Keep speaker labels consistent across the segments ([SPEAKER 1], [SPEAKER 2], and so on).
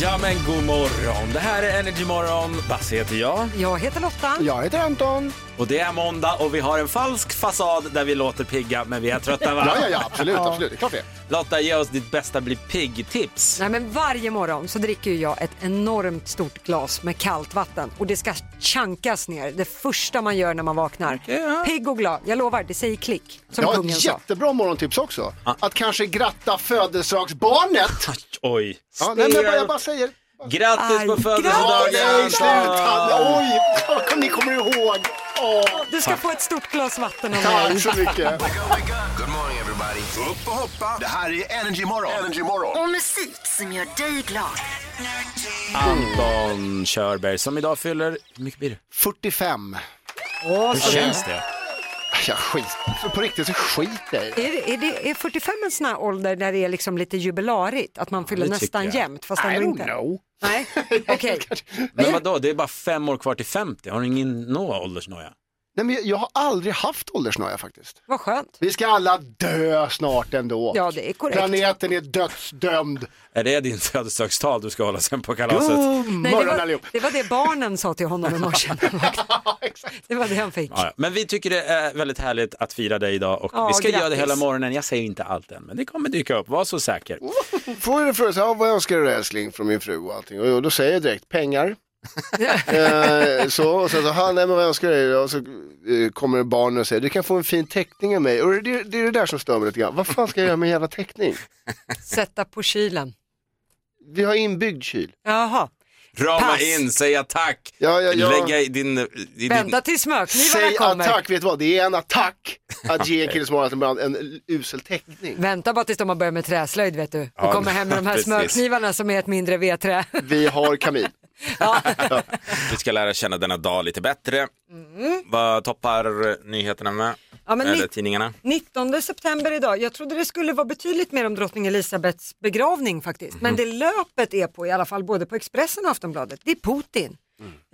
[SPEAKER 1] Ja men god morgon, det här är Energy Morgon. Basse heter jag.
[SPEAKER 2] Jag heter Lotta.
[SPEAKER 3] Jag heter Anton.
[SPEAKER 1] Och det är måndag och vi har en falsk fasad där vi låter pigga men vi är trötta va?
[SPEAKER 3] Ja, ja, ja, absolut, absolut. Det är klart det.
[SPEAKER 1] Lotta, ge oss ditt bästa bli pigg-tips.
[SPEAKER 2] Nej, men varje morgon så dricker ju jag ett enormt stort glas med kallt vatten och det ska chankas ner. Det första man gör när man vaknar.
[SPEAKER 1] Ja.
[SPEAKER 2] Pigg och glad, jag lovar, det säger klick. Som
[SPEAKER 3] Jag har
[SPEAKER 2] kungen
[SPEAKER 3] ett
[SPEAKER 2] sa.
[SPEAKER 3] jättebra morgontips också. Att kanske gratta födelsedagsbarnet.
[SPEAKER 1] Oj.
[SPEAKER 3] Ja, nej, men jag bara, jag bara säger.
[SPEAKER 1] Grattis
[SPEAKER 2] Aj,
[SPEAKER 1] på
[SPEAKER 3] Ja,
[SPEAKER 1] födelsedagen!
[SPEAKER 3] nej, sluta!
[SPEAKER 1] Anton.
[SPEAKER 3] Oj, vad kom- ni kommer ihåg. Åh,
[SPEAKER 2] Du ska få ett stort glas vatten av mig.
[SPEAKER 3] tack så mycket.
[SPEAKER 4] Good morning everybody. Upp och hoppa. Det här är Energy Morgon. Energy Morgon.
[SPEAKER 5] Och musik som gör dig glad.
[SPEAKER 1] Anton Körberg som idag fyller, hur mycket blir det?
[SPEAKER 3] 45.
[SPEAKER 2] Åh,
[SPEAKER 1] Hur
[SPEAKER 2] så
[SPEAKER 1] känns det?
[SPEAKER 3] Jag skiter på riktigt så skiter jag i det.
[SPEAKER 2] är, det, är, det, är 45 en sån här ålder där det är liksom lite jubilarigt? Att man fyller
[SPEAKER 1] det tycker
[SPEAKER 2] nästan
[SPEAKER 1] jag.
[SPEAKER 2] jämnt fast
[SPEAKER 3] I
[SPEAKER 2] ändå
[SPEAKER 3] don't
[SPEAKER 2] inte?
[SPEAKER 3] know.
[SPEAKER 2] Nej, okej.
[SPEAKER 1] Men vadå, det är bara fem år kvar till 50. Har du ingen nå åldersnoja?
[SPEAKER 3] Nej, men jag- jag har aldrig haft åldersnoja faktiskt.
[SPEAKER 2] Vad skönt.
[SPEAKER 3] Vi ska alla dö snart ändå.
[SPEAKER 2] Ja, det är korrekt.
[SPEAKER 3] Planeten är dödsdömd.
[SPEAKER 1] Är det din födelsedagstal du ska hålla sen på kalaset?
[SPEAKER 2] Nej, det,
[SPEAKER 3] Morgon
[SPEAKER 2] var,
[SPEAKER 3] allihop.
[SPEAKER 2] det var det barnen sa till honom i morse. Det var det han fick.
[SPEAKER 1] Ja, ja. Men vi tycker det är väldigt härligt att fira dig idag och
[SPEAKER 2] Ja,
[SPEAKER 1] vi ska göra det
[SPEAKER 2] grattis.
[SPEAKER 1] hela morgonen. Jag säger inte allt än, men det kommer dyka upp, var så säker.
[SPEAKER 3] Får jag fråga så här, vad önskar du älskling från min fru och allting? Och då säger jag direkt pengar. eh, så, och sen så, han, nej men vad önskar du dig? Och så eh, kommer barnen och säger, du kan få en fin teckning av mig. Och det, det är det där som stör mig lite grann. Vad fan ska jag göra med en jävla teckning?
[SPEAKER 2] Sätta på kylen.
[SPEAKER 3] Vi har inbyggd kyl.
[SPEAKER 2] Jaha,
[SPEAKER 1] Rama
[SPEAKER 2] Pass.
[SPEAKER 1] in, säga tack,
[SPEAKER 3] Ja, ja, ja.
[SPEAKER 1] lägga i din... I din...
[SPEAKER 2] vända till smörknivarna
[SPEAKER 3] Säg
[SPEAKER 2] kommer.
[SPEAKER 3] attack, vet du vad? Det är en attack att ge en kille som har en, brand en usel teckning.
[SPEAKER 2] Vänta bara tills de har börjat med träslöjd vet du. Och
[SPEAKER 1] Ja,
[SPEAKER 2] kommer hem med de här
[SPEAKER 1] precis.
[SPEAKER 2] smörknivarna som är ett mindre vedträ.
[SPEAKER 3] Vi har kamin.
[SPEAKER 2] ja.
[SPEAKER 6] Vi ska lära känna denna dag lite bättre. Vad toppar nyheterna med?
[SPEAKER 2] Mm. Ja, men
[SPEAKER 6] Eller
[SPEAKER 2] ni-
[SPEAKER 6] tidningarna?
[SPEAKER 2] 19 september idag. Jag trodde det skulle vara betydligt mer om drottning Elisabeths begravning faktiskt. Men det löpet är på i alla fall både på Expressen och Aftonbladet, det är Putin.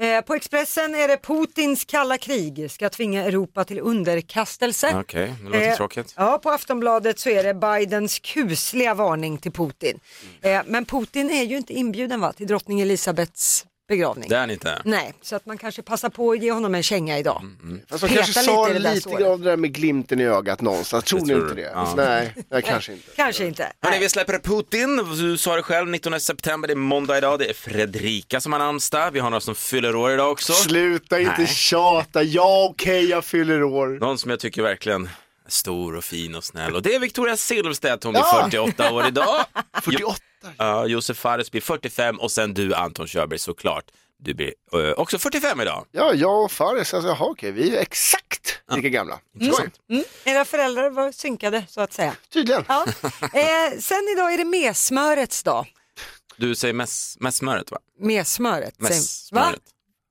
[SPEAKER 2] Eh, på Expressen är det Putins kalla krig ska tvinga Europa till underkastelse.
[SPEAKER 6] Okej, det låter
[SPEAKER 2] Eh,
[SPEAKER 6] tråkigt.
[SPEAKER 2] Ja, på Aftonbladet så är det Bidens kusliga varning till Putin.
[SPEAKER 6] Mm.
[SPEAKER 2] Eh, men Putin är ju inte inbjuden va, till drottning Elisabeths begravning.
[SPEAKER 6] Det är ni inte.
[SPEAKER 2] Nej, så att man kanske passar på att ge honom en känga idag.
[SPEAKER 6] Mm,
[SPEAKER 3] Fast de
[SPEAKER 2] Peta
[SPEAKER 3] Alltså, kanske
[SPEAKER 2] lite
[SPEAKER 3] sa
[SPEAKER 2] i det där
[SPEAKER 3] lite
[SPEAKER 2] såret.
[SPEAKER 3] grann av det där med glimten i ögat någonstans. Tror ni
[SPEAKER 6] tror
[SPEAKER 3] inte
[SPEAKER 6] du.
[SPEAKER 3] det?
[SPEAKER 6] Ja.
[SPEAKER 3] Nej, nej, kanske inte.
[SPEAKER 2] Kanske inte.
[SPEAKER 6] Hörni, vi släpper Putin. Du sa det själv, 19 september, det är måndag idag. Det är Fredrika som har namnsdag. Vi har några som fyller år idag också.
[SPEAKER 3] Sluta inte tjata. Ja, okej, jag fyller år.
[SPEAKER 6] Någon som jag tycker verkligen är stor och fin och snäll. Och det är Victoria Silvstedt, hon blir
[SPEAKER 3] Ja.
[SPEAKER 6] 48 år idag.
[SPEAKER 3] 48.
[SPEAKER 6] Ja, Josef Fares blir 45 och sen du Anton Körberg såklart. Du blir eh, också 45 idag.
[SPEAKER 3] Ja, jag och Fares, alltså, jaha okej, vi är ju exakt lika gamla. Skoj,
[SPEAKER 2] Mm. Era föräldrar var synkade så att säga.
[SPEAKER 3] tydligen.
[SPEAKER 2] Ja. Eh, sen idag är det messmörets dag.
[SPEAKER 6] Du säger mess, messmöret va?
[SPEAKER 2] Messmöret. säger- Va?
[SPEAKER 6] Messmöret.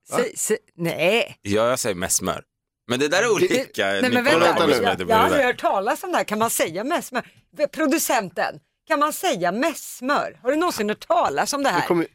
[SPEAKER 2] Säg- säg- nej.
[SPEAKER 6] Ja, jag säger messmör. Men det där är olika.
[SPEAKER 2] nej men
[SPEAKER 6] Nikola
[SPEAKER 2] vänta.
[SPEAKER 6] Holmes
[SPEAKER 3] nu.
[SPEAKER 2] Jag,
[SPEAKER 6] heter på
[SPEAKER 2] jag har
[SPEAKER 6] det där.
[SPEAKER 2] aldrig hört talas om det här. Kan man säga messmör? Producenten, kan man säga messmör? Har du någonsin hört talas om det här?
[SPEAKER 3] Det kommer-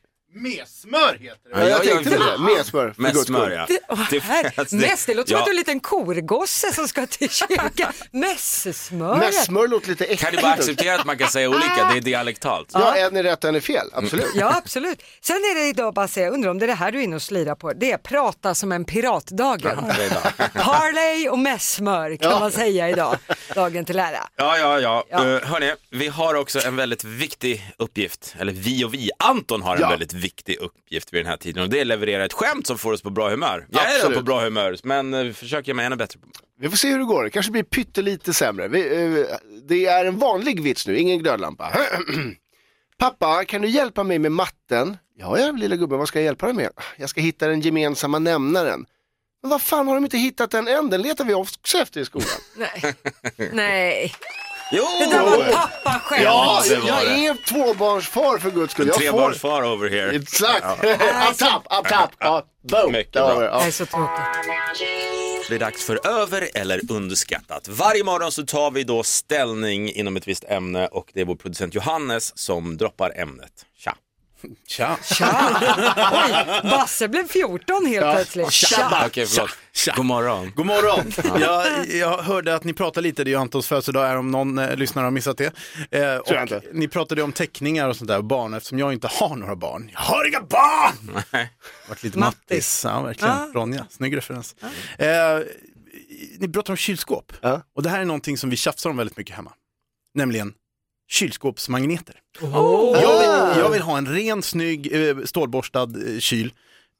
[SPEAKER 6] Ja,
[SPEAKER 3] Ja, jag
[SPEAKER 6] jag-
[SPEAKER 3] tänkte
[SPEAKER 6] jag-
[SPEAKER 3] det. Med smör. för guds
[SPEAKER 6] Messmör
[SPEAKER 3] skull.
[SPEAKER 6] ja.
[SPEAKER 2] Det, åh, här,
[SPEAKER 6] alltså,
[SPEAKER 2] mess, det låter som
[SPEAKER 6] ja.
[SPEAKER 2] att du är en liten korgosse som ska till kyrkan.
[SPEAKER 3] Med
[SPEAKER 2] Messesmöret.
[SPEAKER 3] smör låter lite
[SPEAKER 6] Kan
[SPEAKER 3] äckligt.
[SPEAKER 6] du bara acceptera att man kan säga
[SPEAKER 2] Ah.
[SPEAKER 6] olika? Det är dialektalt.
[SPEAKER 3] Ja, en är rätt en är fel,
[SPEAKER 6] Mm.
[SPEAKER 3] absolut.
[SPEAKER 2] Ja absolut. Sen är det idag bara säga, jag undrar om det är det här du är inne och slirar på. Det är prata som en piratdagen. Parley och messmör kan man säga idag. Dagen till ära.
[SPEAKER 6] Ja, ja, ja.
[SPEAKER 2] Ja.
[SPEAKER 6] Eh, hörni, vi har också en väldigt viktig uppgift. Eller vi och vi. Anton har en
[SPEAKER 3] Ja.
[SPEAKER 6] väldigt viktig uppgift vid den här tiden och det är att leverera ett skämt som får oss på bra humör. Jag är
[SPEAKER 3] Absolut.
[SPEAKER 6] redan på bra humör, men eh, försöker jag mig ännu bättre. på-
[SPEAKER 3] Vi får se hur det går, det kanske blir pyttelite sämre. Vi, eh, det är en vanlig vits nu, ingen glödlampa. Pappa, kan du hjälpa mig med matten? Ja, ja, lilla gubben, vad ska jag hjälpa dig med? Jag ska hitta den gemensamma nämnaren. Men vad fan har de inte hittat den än? Den letar vi också efter i skolan.
[SPEAKER 2] Nej. Nej.
[SPEAKER 6] Jo!
[SPEAKER 2] Det där var pappa själv.
[SPEAKER 3] Ja,
[SPEAKER 6] det var
[SPEAKER 3] jag
[SPEAKER 6] det.
[SPEAKER 3] är tvåbarnsfar för guds skull. Jag får...
[SPEAKER 6] Trebarnsfar over here.
[SPEAKER 3] Exakt! Up top, up top! Ja, boom!
[SPEAKER 6] Mycket
[SPEAKER 3] Där var
[SPEAKER 6] bra.
[SPEAKER 3] det.
[SPEAKER 2] Det
[SPEAKER 3] Ja.
[SPEAKER 2] här är så tråkigt.
[SPEAKER 6] Det är dags för över eller underskattat. Varje morgon så tar vi då ställning inom ett visst ämne och det är vår producent Johannes som droppar ämnet. Tja!
[SPEAKER 7] Tja.
[SPEAKER 2] Tja! Oj, Basse blev 14 helt plötsligt.
[SPEAKER 7] Tja.
[SPEAKER 6] Okej, förlåt.
[SPEAKER 7] Tja.
[SPEAKER 6] God morgon.
[SPEAKER 7] God morgon! jag, jag hörde att ni pratade lite, det är ju Antons födelsedag här om någon eh, lyssnare har missat det. Eh, och
[SPEAKER 3] jag inte.
[SPEAKER 7] Ni pratade om teckningar och sånt där, barn, eftersom jag inte har några barn. Jag har inga barn! Vart lite Mattis.
[SPEAKER 2] Mattis.
[SPEAKER 7] Ja, verkligen. Ronja, snygg referens. Eh, ni pratar om kylskåp,
[SPEAKER 3] Ja.
[SPEAKER 7] och det här är någonting som vi tjafsar om väldigt mycket hemma. Nämligen kylskåpsmagneter. Jag, vill, jag vill ha en ren, snygg, eh, stålborstad eh, kyl.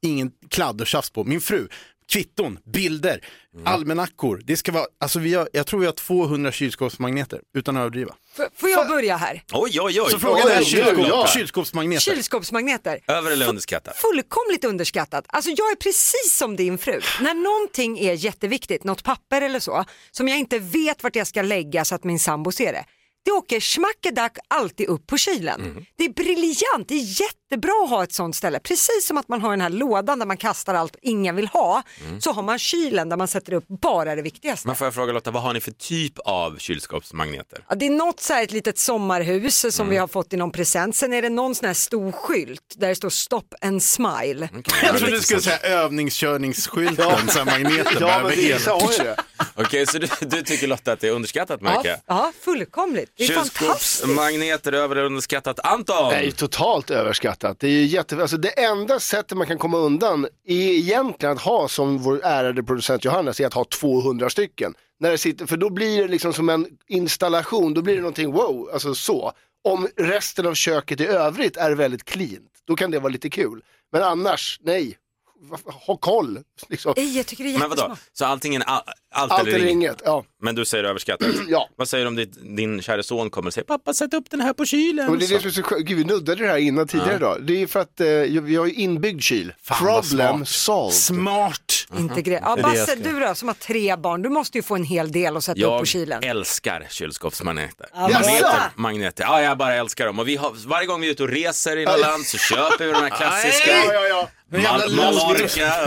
[SPEAKER 7] Ingen kladd och tjafs på. Min fru, kvitton, bilder,
[SPEAKER 3] Mm.
[SPEAKER 7] almanackor. Det ska vara, alltså vi har, jag tror vi har 200 kylskåpsmagneter, utan att överdriva.
[SPEAKER 2] F- Får jag börja här?
[SPEAKER 6] Oj, oj, oj.
[SPEAKER 7] Så frågan är
[SPEAKER 3] oj,
[SPEAKER 7] kylskåp,
[SPEAKER 3] oj, oj.
[SPEAKER 7] kylskåpsmagneter.
[SPEAKER 2] Kylskåpsmagneter.
[SPEAKER 6] Över eller underskattat?
[SPEAKER 2] Fullkomligt underskattat. Alltså jag är precis som din fru. När någonting är jätteviktigt, något papper eller så, som jag inte vet vart jag ska lägga så att min sambo ser det. Det åker smackedack alltid upp på kylen. Det är briljant, det är jättebra att ha ett sånt ställe. Precis som att man har den här lådan där man kastar allt ingen vill ha, så har man kylen där man sätter upp bara det viktigaste.
[SPEAKER 6] Men får jag fråga Lotta, vad har ni för typ av kylskåpsmagneter?
[SPEAKER 2] Ja, det är något så här ett litet sommarhus som vi har fått i någon present. Sen är det någon sån här stor skylt där det står stop and smile.
[SPEAKER 7] Jag trodde du skulle säga övningskörningsskylten, så här magneten.
[SPEAKER 3] Ja, men
[SPEAKER 7] behöver el.
[SPEAKER 3] vissa har ju det.
[SPEAKER 6] Okej, så du, du tycker Lotta att det är underskattat märker
[SPEAKER 2] Ja,
[SPEAKER 6] jag?
[SPEAKER 2] ja, fullkomligt. Det är fantastiskt.
[SPEAKER 6] Kylskåpsmagneter över eller underskattat? Anton!
[SPEAKER 3] Det är ju totalt överskattat. Det är ju jätte... alltså, det enda sättet man kan komma undan är egentligen att ha, som vår ärade producent Johannes, är att ha 200 stycken. När det sitter... För då blir det liksom som en installation, då blir det någonting wow, alltså så. Om resten av köket i övrigt är väldigt cleant, då kan det vara lite kul. Men annars, nej, Va- ha koll. Liksom.
[SPEAKER 2] Nej, jag tycker det är
[SPEAKER 6] Men vadå,
[SPEAKER 2] jättesmart.
[SPEAKER 6] så allting är all, allt,
[SPEAKER 3] Allt eller
[SPEAKER 6] inget?
[SPEAKER 3] inget. Ja.
[SPEAKER 6] Men du säger överskattat?
[SPEAKER 3] Ja.
[SPEAKER 6] Vad säger du om din, din kära son kommer och säger pappa sätt upp den här på kylen?
[SPEAKER 3] Men det är det som är så skönt. Gud, vi nuddade det här innan tidigare idag. Det är för att eh, vi har ju inbyggd kyl.
[SPEAKER 7] Fan, vad
[SPEAKER 3] Problem
[SPEAKER 7] smart.
[SPEAKER 3] solved.
[SPEAKER 7] Smart!
[SPEAKER 2] Integre- ja,
[SPEAKER 7] Mm-hmm. Det är det jag
[SPEAKER 2] Basse,
[SPEAKER 7] ska-
[SPEAKER 2] du då som har tre barn, du måste ju få en hel del att sätta upp på
[SPEAKER 6] Jag
[SPEAKER 2] kylen.
[SPEAKER 6] älskar kylskåpsmagneter.
[SPEAKER 2] Jaså?
[SPEAKER 6] Magneter, magneter. Ja, jag bara älskar dem. Och vi har, varje gång vi är ute och reser i något land så köper vi de här klassiska.
[SPEAKER 7] Aj,
[SPEAKER 3] Ja, ja.
[SPEAKER 7] En jävla
[SPEAKER 6] Mal-
[SPEAKER 7] lång
[SPEAKER 6] Mallorca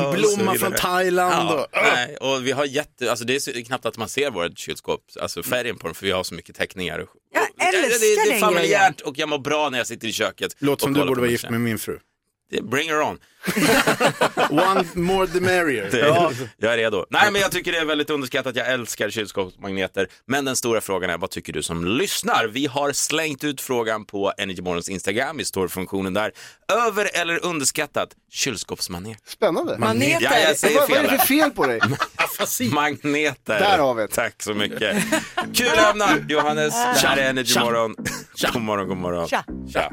[SPEAKER 6] och så
[SPEAKER 7] Blomma
[SPEAKER 6] vidare.
[SPEAKER 7] från Thailand.
[SPEAKER 6] Ja,
[SPEAKER 7] Och,
[SPEAKER 6] nej, och vi har jätte, alltså det är så, knappt att man ser vårt kylskåp, alltså färgen på dem för vi har så mycket teckningar. och-
[SPEAKER 2] Jag
[SPEAKER 6] och- det,
[SPEAKER 2] älskar
[SPEAKER 6] det, det
[SPEAKER 2] den
[SPEAKER 6] är familjärt och jag mår bra när jag sitter i köket.
[SPEAKER 7] Låt som
[SPEAKER 6] och
[SPEAKER 7] du
[SPEAKER 6] kollar
[SPEAKER 7] borde
[SPEAKER 6] på
[SPEAKER 7] vara
[SPEAKER 6] matchen.
[SPEAKER 7] gift med min fru.
[SPEAKER 6] Det- Bring her on.
[SPEAKER 7] One more the merrier.
[SPEAKER 6] Det, Jag är redo. Nej men jag tycker det är väldigt underskattat, jag älskar kylskåpsmagneter. Men den stora frågan är, vad tycker du som lyssnar? Vi har slängt ut frågan på Energymorgons Instagram, i står funktionen där. Över eller underskattat kylskåpsmagneter?
[SPEAKER 3] Spännande.
[SPEAKER 2] Maneter.
[SPEAKER 6] Ja, jag säger
[SPEAKER 3] Vad,
[SPEAKER 6] fel.
[SPEAKER 3] vad är det
[SPEAKER 6] där.
[SPEAKER 3] för fel på dig?
[SPEAKER 6] Magneter.
[SPEAKER 3] Där har vi det.
[SPEAKER 6] Tack så mycket. Kul ämne, Johannes. Kära Energy morgon. God morgon, god morgon.
[SPEAKER 2] Tja.
[SPEAKER 6] Tja.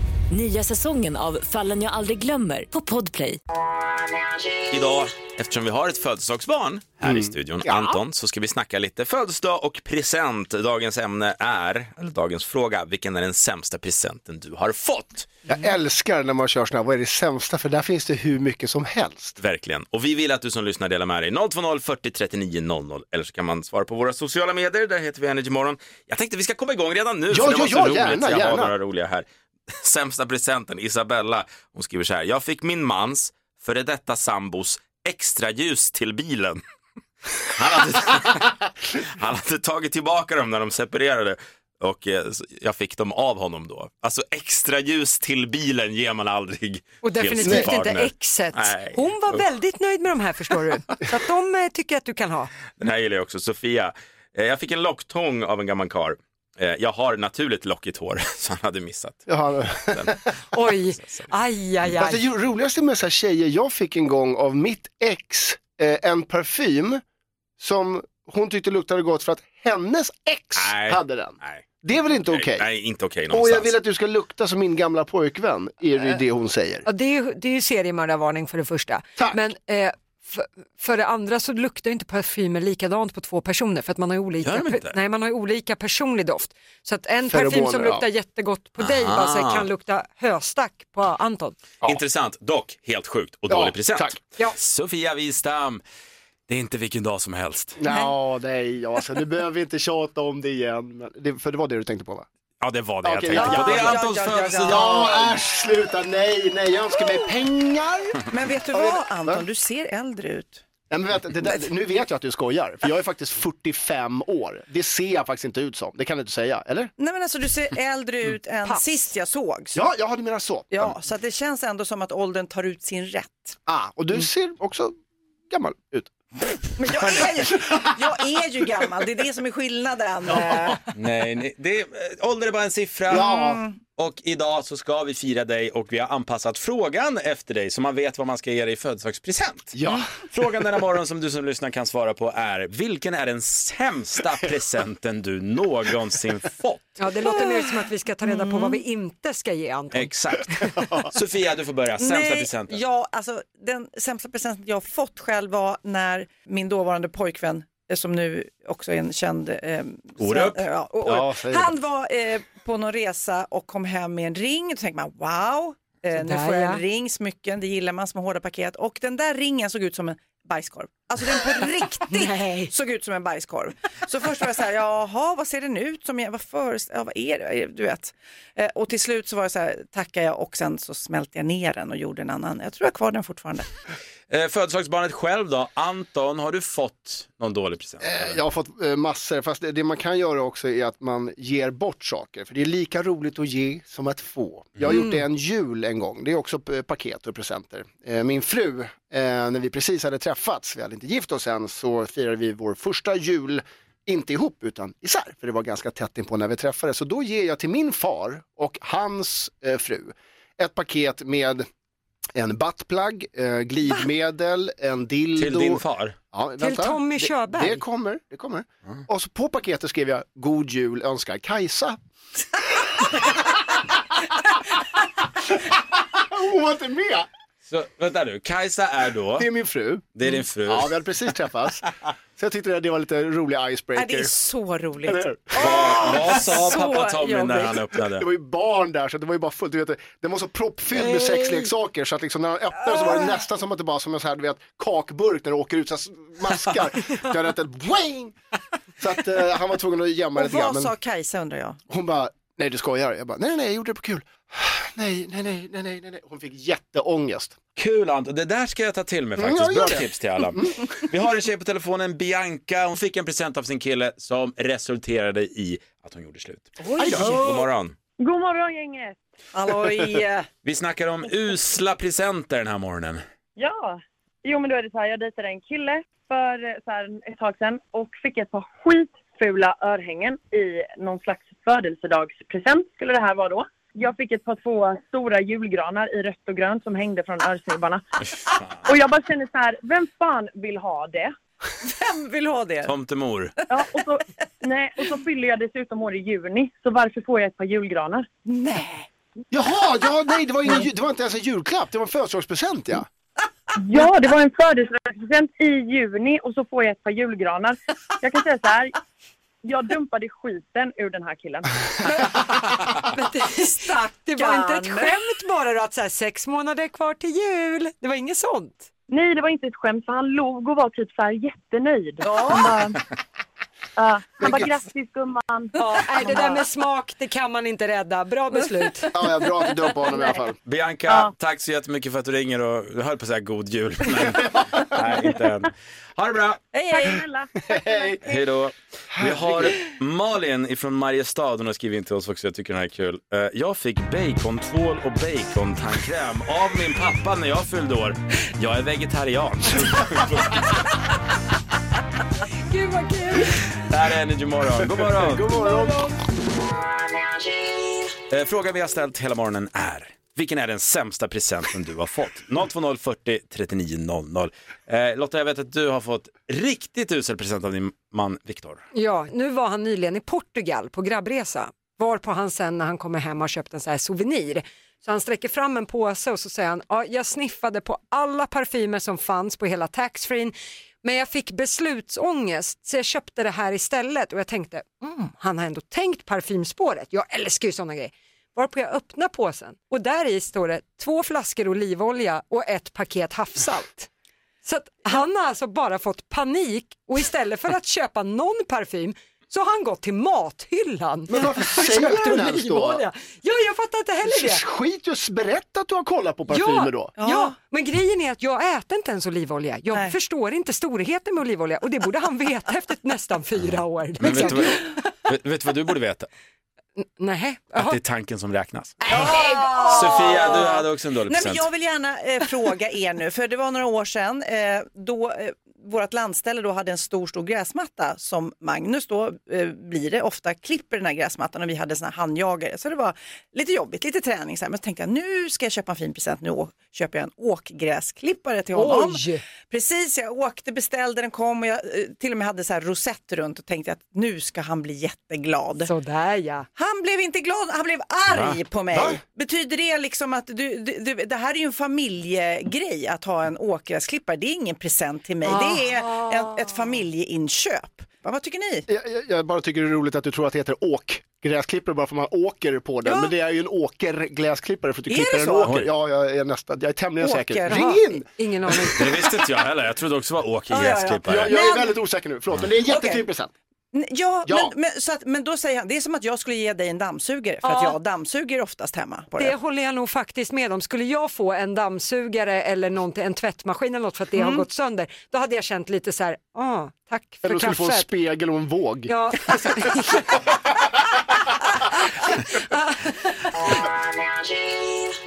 [SPEAKER 8] Nya säsongen av Fallen jag aldrig glömmer på Podplay.
[SPEAKER 6] Idag, eftersom vi har ett födelsedagsbarn här
[SPEAKER 3] Mm.
[SPEAKER 6] i studion, Anton, så ska vi snacka lite födelsedag och present. Dagens ämne är, eller dagens fråga, vilken är den sämsta presenten du har fått?
[SPEAKER 3] Jag älskar när man kör sådana här, vad är det sämsta? För där finns det hur mycket som helst.
[SPEAKER 6] Verkligen. Och vi vill att du som lyssnar delar med dig. 020 40 39 00. Eller så kan man svara på våra sociala medier. Där heter vi Energymorgon. Jag tänkte vi ska komma igång redan nu.
[SPEAKER 3] Ja,
[SPEAKER 6] för det
[SPEAKER 3] ja,
[SPEAKER 6] var så
[SPEAKER 3] ja,
[SPEAKER 6] roligt.
[SPEAKER 3] gärna,
[SPEAKER 6] Jag har
[SPEAKER 3] gärna.
[SPEAKER 6] några roliga här. Sämsta presenten, Isabella. Hon skriver så här. Jag fick min mans, före detta sambos, extraljus till bilen. Han hade, han hade tagit tillbaka dem när de separerade. Och eh, så jag fick dem av honom då. Alltså extra ljus till bilen ger man aldrig
[SPEAKER 2] Och
[SPEAKER 6] till sin
[SPEAKER 2] definitivt inte
[SPEAKER 6] partner.
[SPEAKER 2] exet.
[SPEAKER 6] Nej.
[SPEAKER 2] Hon var väldigt nöjd med de här förstår du. Så att de eh, tycker att du kan ha.
[SPEAKER 6] Den här gillar jag också. Sofia. Eh, Jag fick en locktång av en gammal kar. Jag har naturligt lockigt hår, så han hade missat.
[SPEAKER 3] Jaha.
[SPEAKER 2] Oj, aj, aj,
[SPEAKER 3] Alltså,
[SPEAKER 2] aj.
[SPEAKER 3] det roligaste med så här tjejer, jag fick en gång av mitt ex eh, en parfym som hon tyckte luktade gott för att hennes ex
[SPEAKER 6] Nej.
[SPEAKER 3] hade den.
[SPEAKER 6] Nej,
[SPEAKER 3] Det är väl inte okej?
[SPEAKER 6] nej inte okej
[SPEAKER 3] Och
[SPEAKER 6] någonstans.
[SPEAKER 3] jag vill att du ska lukta som min gamla pojkvän, är det ju det hon säger.
[SPEAKER 2] Ja, det, är ju, det är ju seriemördarvarning för det första.
[SPEAKER 3] Tack.
[SPEAKER 2] Men eh, För, för det andra så luktar ju inte parfymer likadant på två personer för att man har ju olika,
[SPEAKER 6] Gör de inte?
[SPEAKER 2] nej, man har ju olika personlig doft. Så att en parfym
[SPEAKER 6] Feromoner,
[SPEAKER 2] som
[SPEAKER 6] ja.
[SPEAKER 2] luktar jättegott på dig
[SPEAKER 6] Aha.
[SPEAKER 2] bara, så här, kan lukta höstack på Anton.
[SPEAKER 6] Intressant, dock helt sjukt och
[SPEAKER 2] Ja,
[SPEAKER 6] dålig present.
[SPEAKER 2] tack. Ja.
[SPEAKER 6] Sofia Wistam, det är inte vilken dag som helst.
[SPEAKER 3] Ja, nej, alltså, nu behöver vi inte tjata om det igen. Men det, för det var det du tänkte på va?
[SPEAKER 6] Ja, det var det jag
[SPEAKER 3] Okej,
[SPEAKER 6] tänkte
[SPEAKER 3] ja,
[SPEAKER 6] på. Det är
[SPEAKER 3] ja,
[SPEAKER 6] Antons
[SPEAKER 3] ja, ja, ja.
[SPEAKER 6] födelsedag.
[SPEAKER 3] Ja, äsch, sluta, nej, nej, jag önskar mig pengar.
[SPEAKER 9] Men vet du vad Anton, du ser äldre ut.
[SPEAKER 3] Nej, men vänta, det där, nu vet jag att du skojar, för jag är faktiskt 45 år. Det ser jag faktiskt inte ut som, det kan du inte säga, eller?
[SPEAKER 9] Nej men alltså du ser äldre ut än sist jag sågs.
[SPEAKER 3] Ja, jag hade menar så.
[SPEAKER 9] Ja, så att det känns ändå som att åldern tar ut sin rätt.
[SPEAKER 3] Ah, och du ser också gammal ut.
[SPEAKER 9] Men jag är, ju, jag är ju gammal, det är det som är skillnaden.
[SPEAKER 6] Nej, nej det är, äh, ålder är bara en siffra.
[SPEAKER 9] Ja.
[SPEAKER 6] Och idag så ska vi fira dig och vi har anpassat frågan efter dig så man vet vad man ska ge dig i födelsedagspresent.
[SPEAKER 3] Ja.
[SPEAKER 6] Frågan denna morgon som du som lyssnar kan svara på är vilken är den sämsta presenten du någonsin fått?
[SPEAKER 2] Ja, det låter mer som att vi ska ta reda på vad vi inte ska ge Anton.
[SPEAKER 6] Exakt. Sofia, du får börja. Sämsta
[SPEAKER 9] Nej,
[SPEAKER 6] presenten.
[SPEAKER 9] Ja, alltså, den sämsta presenten jag har fått själv var när min dåvarande pojkvän, eh, som nu också är en känd... Eh,
[SPEAKER 6] Orup.
[SPEAKER 9] sven- eh, ja, o-
[SPEAKER 6] Ja,
[SPEAKER 9] Orup.
[SPEAKER 6] säg det.
[SPEAKER 9] han var eh, på någon resa och kom hem med en ring. Då tänkte man wow, eh, nu
[SPEAKER 2] Sådär,
[SPEAKER 9] får jag
[SPEAKER 2] ja.
[SPEAKER 9] en ring, smycken, det gillar man, små hårda paket. Och den där ringen såg ut som en bajskorv. Alltså den på riktigt såg ut som en bajskorv. Så först var jag så här, jaha vad ser den ut som? Jag, vad, för, ja, vad är det? Du vet. Eh, och till slut så var jag så här, tackar jag och sen så smälte jag ner den och gjorde en annan. Jag tror jag har kvar den fortfarande.
[SPEAKER 6] Eh, födelsedagsbarnet själv då? Anton, har du fått någon dålig present?
[SPEAKER 3] Jag har fått eh, massor, fast det, det man kan göra också är att man ger bort saker, för det är lika roligt att ge som att få. Jag har
[SPEAKER 4] Mm.
[SPEAKER 3] gjort det en jul en gång, det är också p- paket och presenter. Eh, Min fru, eh, när vi precis hade träffats, vi hade inte gift oss än, så firade vi vår första jul inte ihop utan isär, för det var ganska tätt inpå när vi träffades. Så då ger jag till min far och hans eh, fru ett paket med en buttplug, eh, glidmedel, en dildo.
[SPEAKER 6] Till din far?
[SPEAKER 3] Ja,
[SPEAKER 6] Till
[SPEAKER 3] vänta.
[SPEAKER 6] Tommy
[SPEAKER 3] Det-
[SPEAKER 6] Körberg.
[SPEAKER 3] Det kommer, det kommer. Och så på paketet skrev jag God Jul önskar Kajsa. Hon var inte med!
[SPEAKER 6] Så, vänta nu, Kajsa är då?
[SPEAKER 3] Det är min fru.
[SPEAKER 6] Det är din fru.
[SPEAKER 3] Ja, vi hade precis träffats. Så jag tyckte att det var lite rolig icebreaker.
[SPEAKER 9] Nej, det är så roligt.
[SPEAKER 3] Eller hur?
[SPEAKER 6] Eh, Vad sa
[SPEAKER 9] Så
[SPEAKER 6] pappa Tommy när
[SPEAKER 9] jobbigt.
[SPEAKER 6] han öppnade?
[SPEAKER 3] Det var ju barn där så det var ju bara fullt. Du vet, det- den var så proppfylld med sexleksaker så att liksom när han öppnade så var
[SPEAKER 9] Ah.
[SPEAKER 3] det nästan som att det bara som en så här, du vet, kakburk när det åker ut så här, maskar. Jag hade ett wing! Så att eh, han var tvungen att gömma det
[SPEAKER 9] Och
[SPEAKER 3] lite grann.
[SPEAKER 9] vad
[SPEAKER 3] men-
[SPEAKER 9] sa Kajsa undrar jag?
[SPEAKER 3] Hon bara, nej du skojar. Jag bara, nej nej jag gjorde det på kul. Nej, nej, nej, nej, nej, nej. Hon fick jätteångest.
[SPEAKER 6] Kul Anton, det där ska jag ta till mig
[SPEAKER 3] Mm,
[SPEAKER 6] faktiskt.
[SPEAKER 3] ja,
[SPEAKER 6] Bra
[SPEAKER 3] gör det.
[SPEAKER 6] tips till alla. Vi har en tjej på telefonen, Bianca. Hon fick en present av sin kille som resulterade i att hon gjorde slut.
[SPEAKER 10] Oj.
[SPEAKER 6] God morgon.
[SPEAKER 10] God morgon gänget!
[SPEAKER 6] Vi snackar om usla presenter den här morgonen.
[SPEAKER 10] Ja, jo men då är det så här, jag dejtade en kille för eh, så här, ett tag sedan och fick ett par skitfula örhängen i någon slags födelsedagspresent skulle det här vara då. Jag fick ett par två stora julgranar i rött och grönt som hängde från örsnibbarna. Och jag bara kände så här, vem fan vill ha det?
[SPEAKER 9] Vem vill ha det?
[SPEAKER 6] Tomtemor.
[SPEAKER 10] Ja, och så, nej, och så fyller jag dessutom år i juni, så varför får jag ett par julgranar?
[SPEAKER 9] Nej!
[SPEAKER 3] Jaha, ja, nej det var, ingen, ju- det var inte ens en julklapp, det var en födelsedagspresent ja.
[SPEAKER 10] Ja, det var en födelsedagspresent i juni och så får jag ett par julgranar. Jag kan säga så här. Jag dumpade skiten ur den här killen.
[SPEAKER 2] Stack, det var inte ett skämt bara då att så här, sex månader kvar till jul. Det var inget sånt.
[SPEAKER 10] Nej, det var inte ett skämt för han log och var typ så här jättenöjd. Han bara, ja, han bara grattis gumman.
[SPEAKER 2] Ja, nej, det där med smak, det kan man inte rädda. Bra beslut.
[SPEAKER 3] Ja, bra att du dumpade honom i alla fall.
[SPEAKER 6] Bianca, tack så jättemycket för att du ringer och du höll på att säga god jul. Men, nej, inte än. Ha det bra.
[SPEAKER 10] Hej, hej. Tack snälla.
[SPEAKER 3] Hej.
[SPEAKER 6] Hej då. Vi har Malin ifrån Mariestad, hon har skrivit in till oss också, jag tycker den här är kul. Eh, Jag fick bacontvål och bacontandkräm av min pappa när jag fyllde år. Jag är vegetarian.
[SPEAKER 2] Gud vad kul!
[SPEAKER 6] Det här är Energy Morgon. God morgon.
[SPEAKER 3] God morgon.
[SPEAKER 6] Eh, Frågan vi har ställt hela morgonen är vilken är den sämsta presenten du har fått? 020 40 39 00. Eh, Lotta, jag vet att du har fått riktigt usel present av din man Viktor.
[SPEAKER 2] Ja, nu var han nyligen i Portugal på grabbresa. Varpå han sen när han kommer hem har köpt en så här souvenir. Så han sträcker fram en påse och så säger han, ja, jag sniffade på alla parfymer som fanns på hela taxfree men jag fick beslutsångest så jag köpte det här istället och jag tänkte, mm, han har ändå tänkt parfymspåret, jag älskar ju sådana grejer. Varpå jag öppnar påsen och där i står det två flaskor olivolja och ett paket havssalt. Så att han har alltså bara fått panik och istället för att köpa någon parfym så har han gått till mathyllan.
[SPEAKER 3] Men varför
[SPEAKER 2] och
[SPEAKER 3] säger
[SPEAKER 2] köpt
[SPEAKER 3] han ens då?
[SPEAKER 2] olivolja. Ja, jag fattar inte heller det.
[SPEAKER 3] Skit just berätta att du har kollat på parfymer
[SPEAKER 2] ja,
[SPEAKER 3] då.
[SPEAKER 2] Ja, men grejen är att jag äter inte ens olivolja. Jag förstår inte storheten med olivolja och det borde han veta efter nästan fyra år.
[SPEAKER 6] Men vet,
[SPEAKER 2] liksom.
[SPEAKER 6] du vad, vet, vet du vad du borde veta?
[SPEAKER 2] Nej,
[SPEAKER 6] Att
[SPEAKER 2] jaha.
[SPEAKER 6] det är tanken som räknas.
[SPEAKER 9] av!
[SPEAKER 6] Sofia, du hade också en dålig
[SPEAKER 9] Nej, men
[SPEAKER 6] present.
[SPEAKER 9] jag vill gärna eh, fråga er nu, för det var några år sedan eh, då eh, vårt landställe då hade en stor, stor gräsmatta som Magnus då eh, blir det ofta klipper den här gräsmattan och vi hade såna här handjagare så det var lite jobbigt, lite träning så här. men så tänkte jag nu ska jag köpa en fin present, nu å- köper jag en åkgräsklippare till honom.
[SPEAKER 2] Oj!
[SPEAKER 9] Precis, jag åkte, beställde, den kom och jag eh, till och med hade så här rosett runt och tänkte att nu ska han bli jätteglad.
[SPEAKER 2] Sådär ja.
[SPEAKER 9] Han blev inte glad, han blev arg på mig. Betyder det liksom att du, du, du, det här är ju en familjegrej att ha en åkgräsklippare, det är ingen present till mig, det är ett, ett familjeinköp. Vad, vad tycker ni?
[SPEAKER 3] Jag, jag, jag bara tycker det är roligt att du tror att det heter åkgräsklippare bara för att man åker på den. Men det är ju en åkergräsklippare för att du
[SPEAKER 9] Är
[SPEAKER 3] klipper
[SPEAKER 9] det
[SPEAKER 3] en
[SPEAKER 9] så?
[SPEAKER 3] åker. Ja, jag är nästan, jag är tämligen säker. Ring in!
[SPEAKER 2] Ingen aning.
[SPEAKER 6] Det visste inte jag heller. Jag trodde också det var Åke
[SPEAKER 3] Ja, ja, ja.
[SPEAKER 6] Gräsklippare.
[SPEAKER 3] Jag- jag är Men- väldigt osäker nu, förlåt. Men det är en jättefin
[SPEAKER 9] Okej.
[SPEAKER 3] present.
[SPEAKER 9] N- Ja,
[SPEAKER 3] Ja.
[SPEAKER 9] Men, men, så att, men då säger han, det är som att jag skulle ge dig en dammsugare för att
[SPEAKER 2] Ja.
[SPEAKER 9] jag dammsuger oftast hemma. På det.
[SPEAKER 2] Det håller jag nog faktiskt med om. Skulle jag få en dammsugare eller någonting, en tvättmaskin eller något för att det
[SPEAKER 3] Mm.
[SPEAKER 2] har gått sönder, då hade jag känt lite så här, ah, tack för
[SPEAKER 3] Eller skulle få en
[SPEAKER 2] kaffet.
[SPEAKER 3] spegel och en våg.
[SPEAKER 2] Ja, alltså,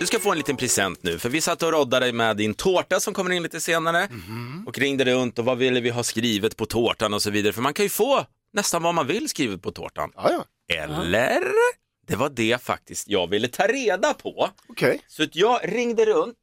[SPEAKER 6] Du ska få en liten present nu, för vi satt och roddade med din tårta som kommer in lite senare och ringde runt och vad ville vi ha skrivet på tårtan och så vidare. För man kan ju få nästan vad man vill skrivet på tårtan. Eller? Det var det faktiskt jag ville ta reda på.
[SPEAKER 3] Okej.
[SPEAKER 6] Så att jag ringde runt,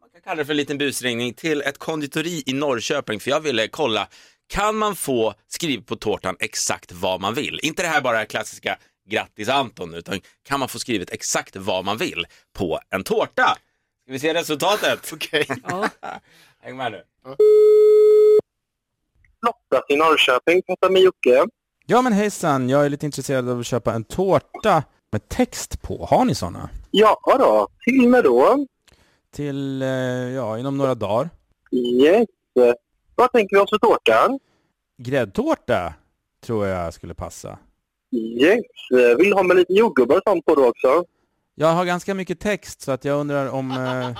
[SPEAKER 6] man kan kalla det för en liten busringning, till ett konditori i Norrköping för jag ville kolla, kan man få skrivet på tårtan exakt vad man vill? Inte det här bara klassiska grattis Anton, utan kan man få skrivet exakt vad man vill på en tårta? Ska vi se resultatet?
[SPEAKER 3] Okej.
[SPEAKER 6] Häng med nu.
[SPEAKER 11] Lotta i Norrköping, pratar med Jocke.
[SPEAKER 12] Ja men hejsan, jag är lite intresserad av att köpa en tårta med text på. Har ni sådana?
[SPEAKER 11] Ja då, till mig då.
[SPEAKER 12] Till, eh, ja, inom några dagar.
[SPEAKER 11] Yes. Vad tänker vi oss för tårta?
[SPEAKER 12] Gräddtårta tror jag skulle passa.
[SPEAKER 11] Yes. Vill du ha med lite jordgubbar och sånt på då också?
[SPEAKER 12] Jag har ganska mycket text så att jag undrar om, eh,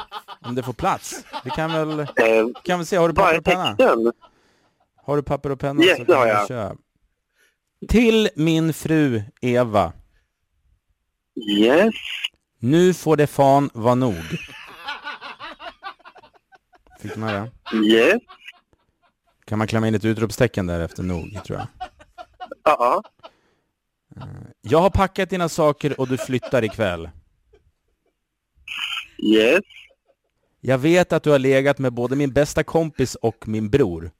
[SPEAKER 12] om det får plats. Vi kan väl, vi kan väl se, har du papper och penna?
[SPEAKER 11] Sen,
[SPEAKER 12] Har du papper och penna?
[SPEAKER 11] Yes,
[SPEAKER 12] så
[SPEAKER 11] det
[SPEAKER 12] kan
[SPEAKER 11] har
[SPEAKER 12] vi
[SPEAKER 11] jag.
[SPEAKER 12] köra. Till min fru Eva.
[SPEAKER 11] Yes.
[SPEAKER 12] Nu får det fan vara nog. Fick du med det?
[SPEAKER 11] yes.
[SPEAKER 12] Kan man klämma in ett utropstecken där efter nog, tror jag. Eh,
[SPEAKER 11] Ja.
[SPEAKER 12] Jag har packat dina saker och du flyttar ikväll.
[SPEAKER 11] Yes.
[SPEAKER 12] Jag vet att du har legat med både min bästa kompis och min bror.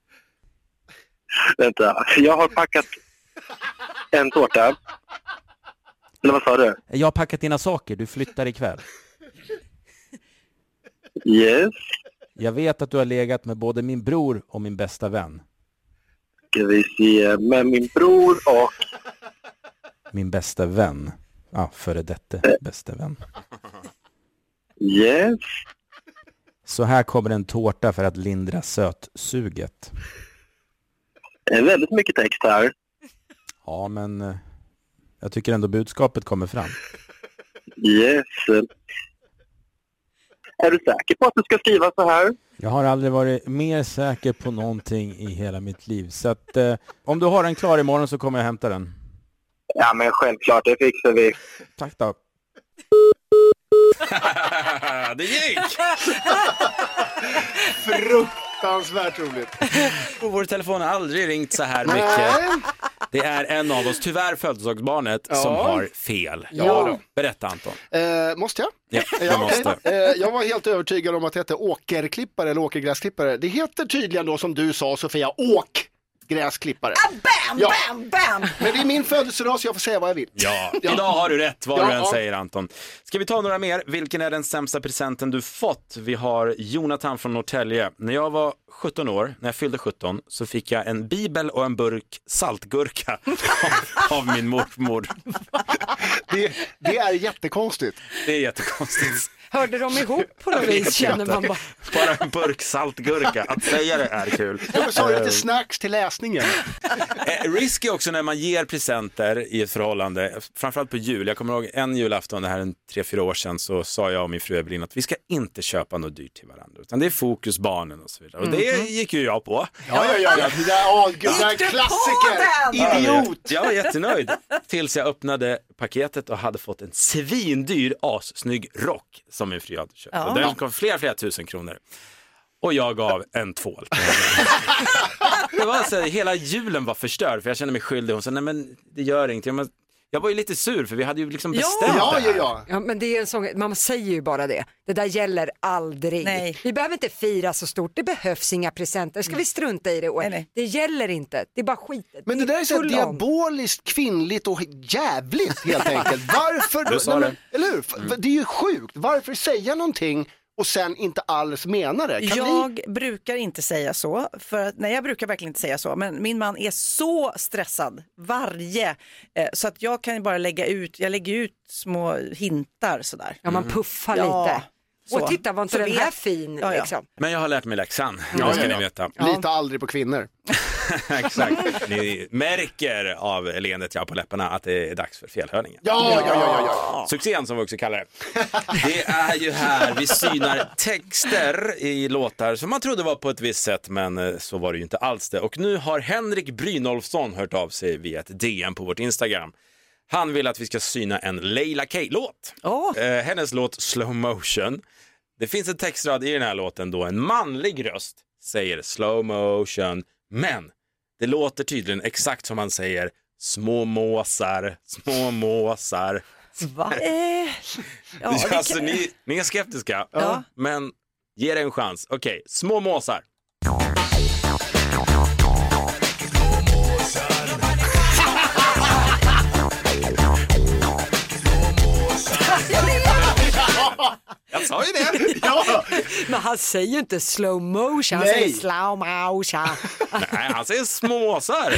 [SPEAKER 11] Vänta, jag har packat en tårta. Eller vad sa du?
[SPEAKER 12] Jag har packat dina saker, du flyttar ikväll.
[SPEAKER 11] Yes.
[SPEAKER 12] Jag vet att du har legat med både min bror och min bästa vän.
[SPEAKER 11] Ska vi se, med min bror och...
[SPEAKER 12] Min bästa vän. Ja, före detta bästa vän.
[SPEAKER 11] Yes.
[SPEAKER 12] Så här kommer en tårta för att lindra sötsuget.
[SPEAKER 11] Det är väldigt mycket text här.
[SPEAKER 12] Ja, men eh, jag tycker ändå budskapet kommer fram.
[SPEAKER 11] Yes. Är du säker på att du ska skriva så här?
[SPEAKER 12] Jag har aldrig varit mer säker på någonting i hela mitt liv. Så att, eh, om du har den klar imorgon så kommer jag hämta den.
[SPEAKER 11] Ja, men självklart, det fixar vi.
[SPEAKER 12] Tack då.
[SPEAKER 6] det gick!
[SPEAKER 3] Fruktansvärt roligt.
[SPEAKER 6] Och vår telefon har aldrig ringt så här
[SPEAKER 3] Nej.
[SPEAKER 6] mycket. Det är en av oss, tyvärr födelsedagsbarnet,
[SPEAKER 3] Ja.
[SPEAKER 6] som har fel.
[SPEAKER 3] Ja då.
[SPEAKER 6] Berätta Anton.
[SPEAKER 3] Eh, måste jag?
[SPEAKER 6] Ja, du
[SPEAKER 3] Ja, okej.
[SPEAKER 6] måste.
[SPEAKER 3] Eh, jag var helt övertygad om att det hette åkerklippare eller åkergräsklippare. Det heter tydligen då som du sa Sofia, åk gräsklippare.
[SPEAKER 9] Ah, Bam,
[SPEAKER 3] Ja.
[SPEAKER 9] bam, bam!
[SPEAKER 3] Men det är min födelsedag så jag får säga vad jag vill.
[SPEAKER 6] Ja,
[SPEAKER 3] Ja.
[SPEAKER 6] idag har du rätt vad du
[SPEAKER 3] Ja.
[SPEAKER 6] än säger Anton. Ska vi ta några mer? Vilken är den sämsta presenten du fått? Vi har Jonathan från Norrtälje. När jag var 17 år, när jag fyllde 17, så fick jag en bibel och en burk saltgurka av, av min mormor.
[SPEAKER 3] Det, det är jättekonstigt.
[SPEAKER 6] Det är jättekonstigt.
[SPEAKER 2] Hörde de ihop på något
[SPEAKER 6] Jag vet
[SPEAKER 2] vis känner
[SPEAKER 6] inte.
[SPEAKER 2] man bara.
[SPEAKER 6] Bara en burk saltgurka, att säga det är kul.
[SPEAKER 3] Jag sa ju
[SPEAKER 6] Eh,
[SPEAKER 3] lite snacks till läsningen.
[SPEAKER 6] Eh, Risky också när man ger presenter i ett förhållande, framförallt på jul. Jag kommer ihåg en julafton, det här är en tre, fyra år sedan, så sa jag och min fru Evelin att vi ska inte köpa något dyrt till varandra, utan det är fokus barnen och så vidare. Och det
[SPEAKER 3] Mhm.
[SPEAKER 6] gick ju jag på.
[SPEAKER 3] Ja, ja, ja, ja. Det där, åh, gud, det där
[SPEAKER 9] Gick du på
[SPEAKER 3] klassiker.
[SPEAKER 9] den?
[SPEAKER 3] Idiot.
[SPEAKER 6] Jag var jättenöjd tills jag öppnade paketet och hade fått en svindyr assnygg rock som min fru hade köpt.
[SPEAKER 9] Ja.
[SPEAKER 6] Och Den kom flera, flera tusen kronor. Och jag gav en tvål. det var så, här, hela julen var förstörd för jag kände mig skyldig. Hon sa, nej men det gör ingenting. Jag, bara, jag var ju lite sur för vi hade ju liksom bestämt det här.
[SPEAKER 2] ja, men det är en sån, man säger ju bara det. Det där gäller aldrig.
[SPEAKER 9] Nej.
[SPEAKER 2] Vi behöver inte fira så stort, det behövs inga presenter. Ska vi strunta i det i år? Det gäller inte, det är bara skitet.
[SPEAKER 3] Mm. Men det där är så här
[SPEAKER 2] Full on.
[SPEAKER 3] diaboliskt kvinnligt och jävligt helt enkelt. Varför?
[SPEAKER 6] Du sa
[SPEAKER 3] men- Eller hur? F- Det är ju sjukt. Varför säga någonting och sen inte alls mena det? Kan
[SPEAKER 9] jag
[SPEAKER 3] ni...
[SPEAKER 9] brukar inte säga så, för att, nej jag brukar verkligen inte säga så, men min man är så stressad varje, eh, så att jag kan ju bara lägga ut, jag lägger ut små hintar sådär.
[SPEAKER 2] Ja, man puffar
[SPEAKER 3] Mm.
[SPEAKER 2] lite. Och titta, var inte den här fin, liksom.
[SPEAKER 6] Men jag har lärt mig läxan,
[SPEAKER 3] Ja,
[SPEAKER 6] det ska
[SPEAKER 3] ja,
[SPEAKER 6] ni
[SPEAKER 3] ja.
[SPEAKER 6] veta.
[SPEAKER 3] Lita aldrig på kvinnor.
[SPEAKER 6] Exakt. Ni märker av leendet jag har på läpparna att det är dags för felhörningen.
[SPEAKER 3] Ja, ja, ja, ja, ja.
[SPEAKER 6] Succén som vi också kallar det. Det är ju här vi synar texter i låtar som man trodde var på ett visst sätt men eh, så var det ju inte alls det. Och nu har Henrik Brynolfsson hört av sig via ett DM på vårt Instagram. Han vill att vi ska syna en Leila K-låt. Eh, hennes låt Slow Motion. Det finns en textrad i den här låten då en manlig röst säger slow motion, men det låter tydligen exakt som han säger små måsar, små måsar.
[SPEAKER 9] Va? Eh, ja, vi
[SPEAKER 6] alltså,
[SPEAKER 9] kan-
[SPEAKER 6] ni, ni är skeptiska, men ge det en chans. Okej, små måsar. Jag sa ju det!
[SPEAKER 3] ja.
[SPEAKER 2] Men han säger ju inte slow motion, han
[SPEAKER 6] Nej.
[SPEAKER 2] säger slow motion.
[SPEAKER 6] Nej, han säger små måsar.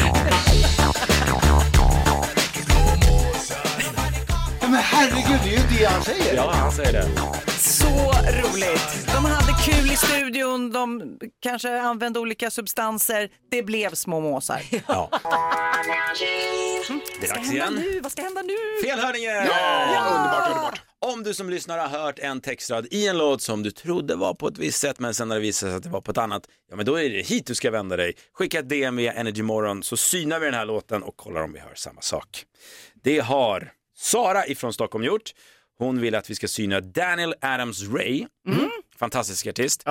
[SPEAKER 3] Men herregud, det är ju det han säger.
[SPEAKER 6] Ja, han säger det.
[SPEAKER 9] Så roligt. De hade kul i studion, de kanske använde olika substanser, det blev små måsar.
[SPEAKER 6] Ja. Det
[SPEAKER 9] Vad
[SPEAKER 6] är dags
[SPEAKER 9] ska hända
[SPEAKER 6] igen.
[SPEAKER 9] nu? Vad ska hända nu?
[SPEAKER 6] Felhörningen!
[SPEAKER 3] Underbart, underbart.
[SPEAKER 6] Om du som lyssnar har hört en textrad i en låt som du trodde var på ett visst sätt men sen när det visar sig att det var på ett annat, ja men då är det hit du ska vända dig. Skicka ett DM via Energy Morgon så synar vi den här låten och kollar om vi hör samma sak. Det har Sara ifrån Stockholm gjort. Hon vill att vi ska syna Daniel Adams Ray,
[SPEAKER 9] Mm.
[SPEAKER 6] fantastisk artist,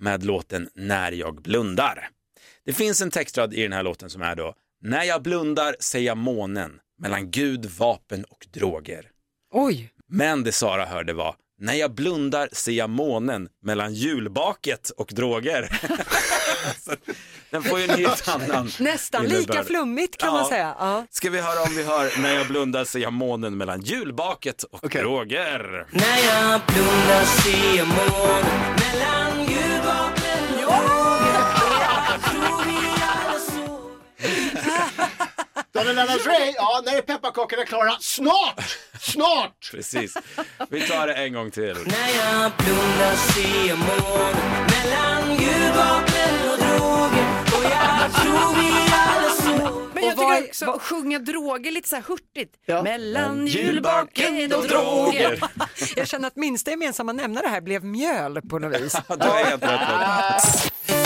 [SPEAKER 6] med låten När jag blundar. Det finns en textrad i den här låten som är då När jag blundar ser jag månen mellan Gud, vapen och droger.
[SPEAKER 2] Oj!
[SPEAKER 6] Men det Sara hörde var När jag blundar ser jag månen mellan julbaket och droger. Så Den får ju en helt annan
[SPEAKER 2] Nästan lika
[SPEAKER 6] innebörd.
[SPEAKER 2] flummigt kan man
[SPEAKER 6] Ja.
[SPEAKER 2] säga. Ja.
[SPEAKER 6] Ska vi höra om vi hör När jag blundar ser jag månen mellan julbaket och droger.
[SPEAKER 13] När jag blundar ser jag månen mellan ljudvapnen
[SPEAKER 3] Donald Lennart Ray, ja, när är pepparkakorna klara? Snart! Snart!
[SPEAKER 6] Precis. Vi tar det en gång till.
[SPEAKER 13] När jag blundar ser jag månen mellan ljudvapnen och droger Och jag tror vi alla sover
[SPEAKER 9] Men jag tycker också, sjunga droger lite så här hurtigt. Mellan
[SPEAKER 2] julbaken
[SPEAKER 9] julbaken
[SPEAKER 2] och
[SPEAKER 9] och droger.
[SPEAKER 2] Jag känner att minsta gemensamma nämnare här blev mjöl på något vis.
[SPEAKER 6] Du har helt rätt. Lotta.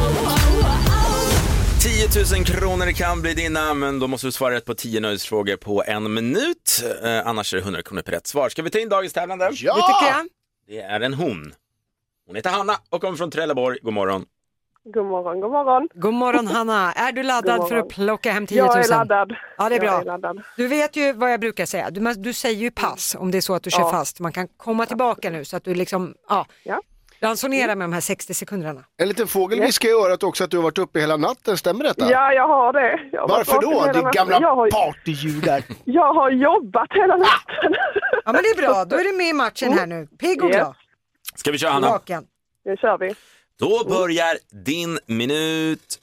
[SPEAKER 14] Whoa,
[SPEAKER 6] 10 000 kronor kan bli dina, men då måste du svara rätt på 10 nöjesfrågor på en minut. Eh, annars är det 100 kronor per rätt svar. Ska vi ta in dagens tävlande?
[SPEAKER 3] Ja! Det tycker jag.
[SPEAKER 6] Det är en hon. Hon heter Hanna och kommer från Trelleborg. God morgon.
[SPEAKER 10] God morgon, god morgon.
[SPEAKER 2] God morgon Hanna, är du laddad
[SPEAKER 10] God
[SPEAKER 2] för att
[SPEAKER 10] morgon.
[SPEAKER 2] plocka hem 10 000?
[SPEAKER 10] Jag är laddad.
[SPEAKER 2] Ja, det är
[SPEAKER 10] Jag är
[SPEAKER 2] bra.
[SPEAKER 10] laddad.
[SPEAKER 2] du vet ju vad jag brukar säga, du, du säger ju pass om det är så att du kör
[SPEAKER 10] Ja.
[SPEAKER 2] fast. Man kan komma tillbaka nu så att du liksom, ja, ransonera med de här 60 sekunderna.
[SPEAKER 3] En liten fågel viskar i örat också att du har varit uppe hela natten, stämmer detta?
[SPEAKER 10] Ja, jag har det. Jag har varit
[SPEAKER 3] Varför då?
[SPEAKER 10] vaken hela
[SPEAKER 3] Din
[SPEAKER 10] natten.
[SPEAKER 3] gamla Ah!
[SPEAKER 10] Jag har,
[SPEAKER 3] partydjur där.
[SPEAKER 10] jag har jobbat hela natten.
[SPEAKER 2] Ja men det är bra, då är du med i matchen här nu. Pigg och
[SPEAKER 10] Yes.
[SPEAKER 2] glad.
[SPEAKER 6] Ska vi köra Hanna?
[SPEAKER 2] Vaken.
[SPEAKER 10] Nu kör vi.
[SPEAKER 6] Då börjar din minut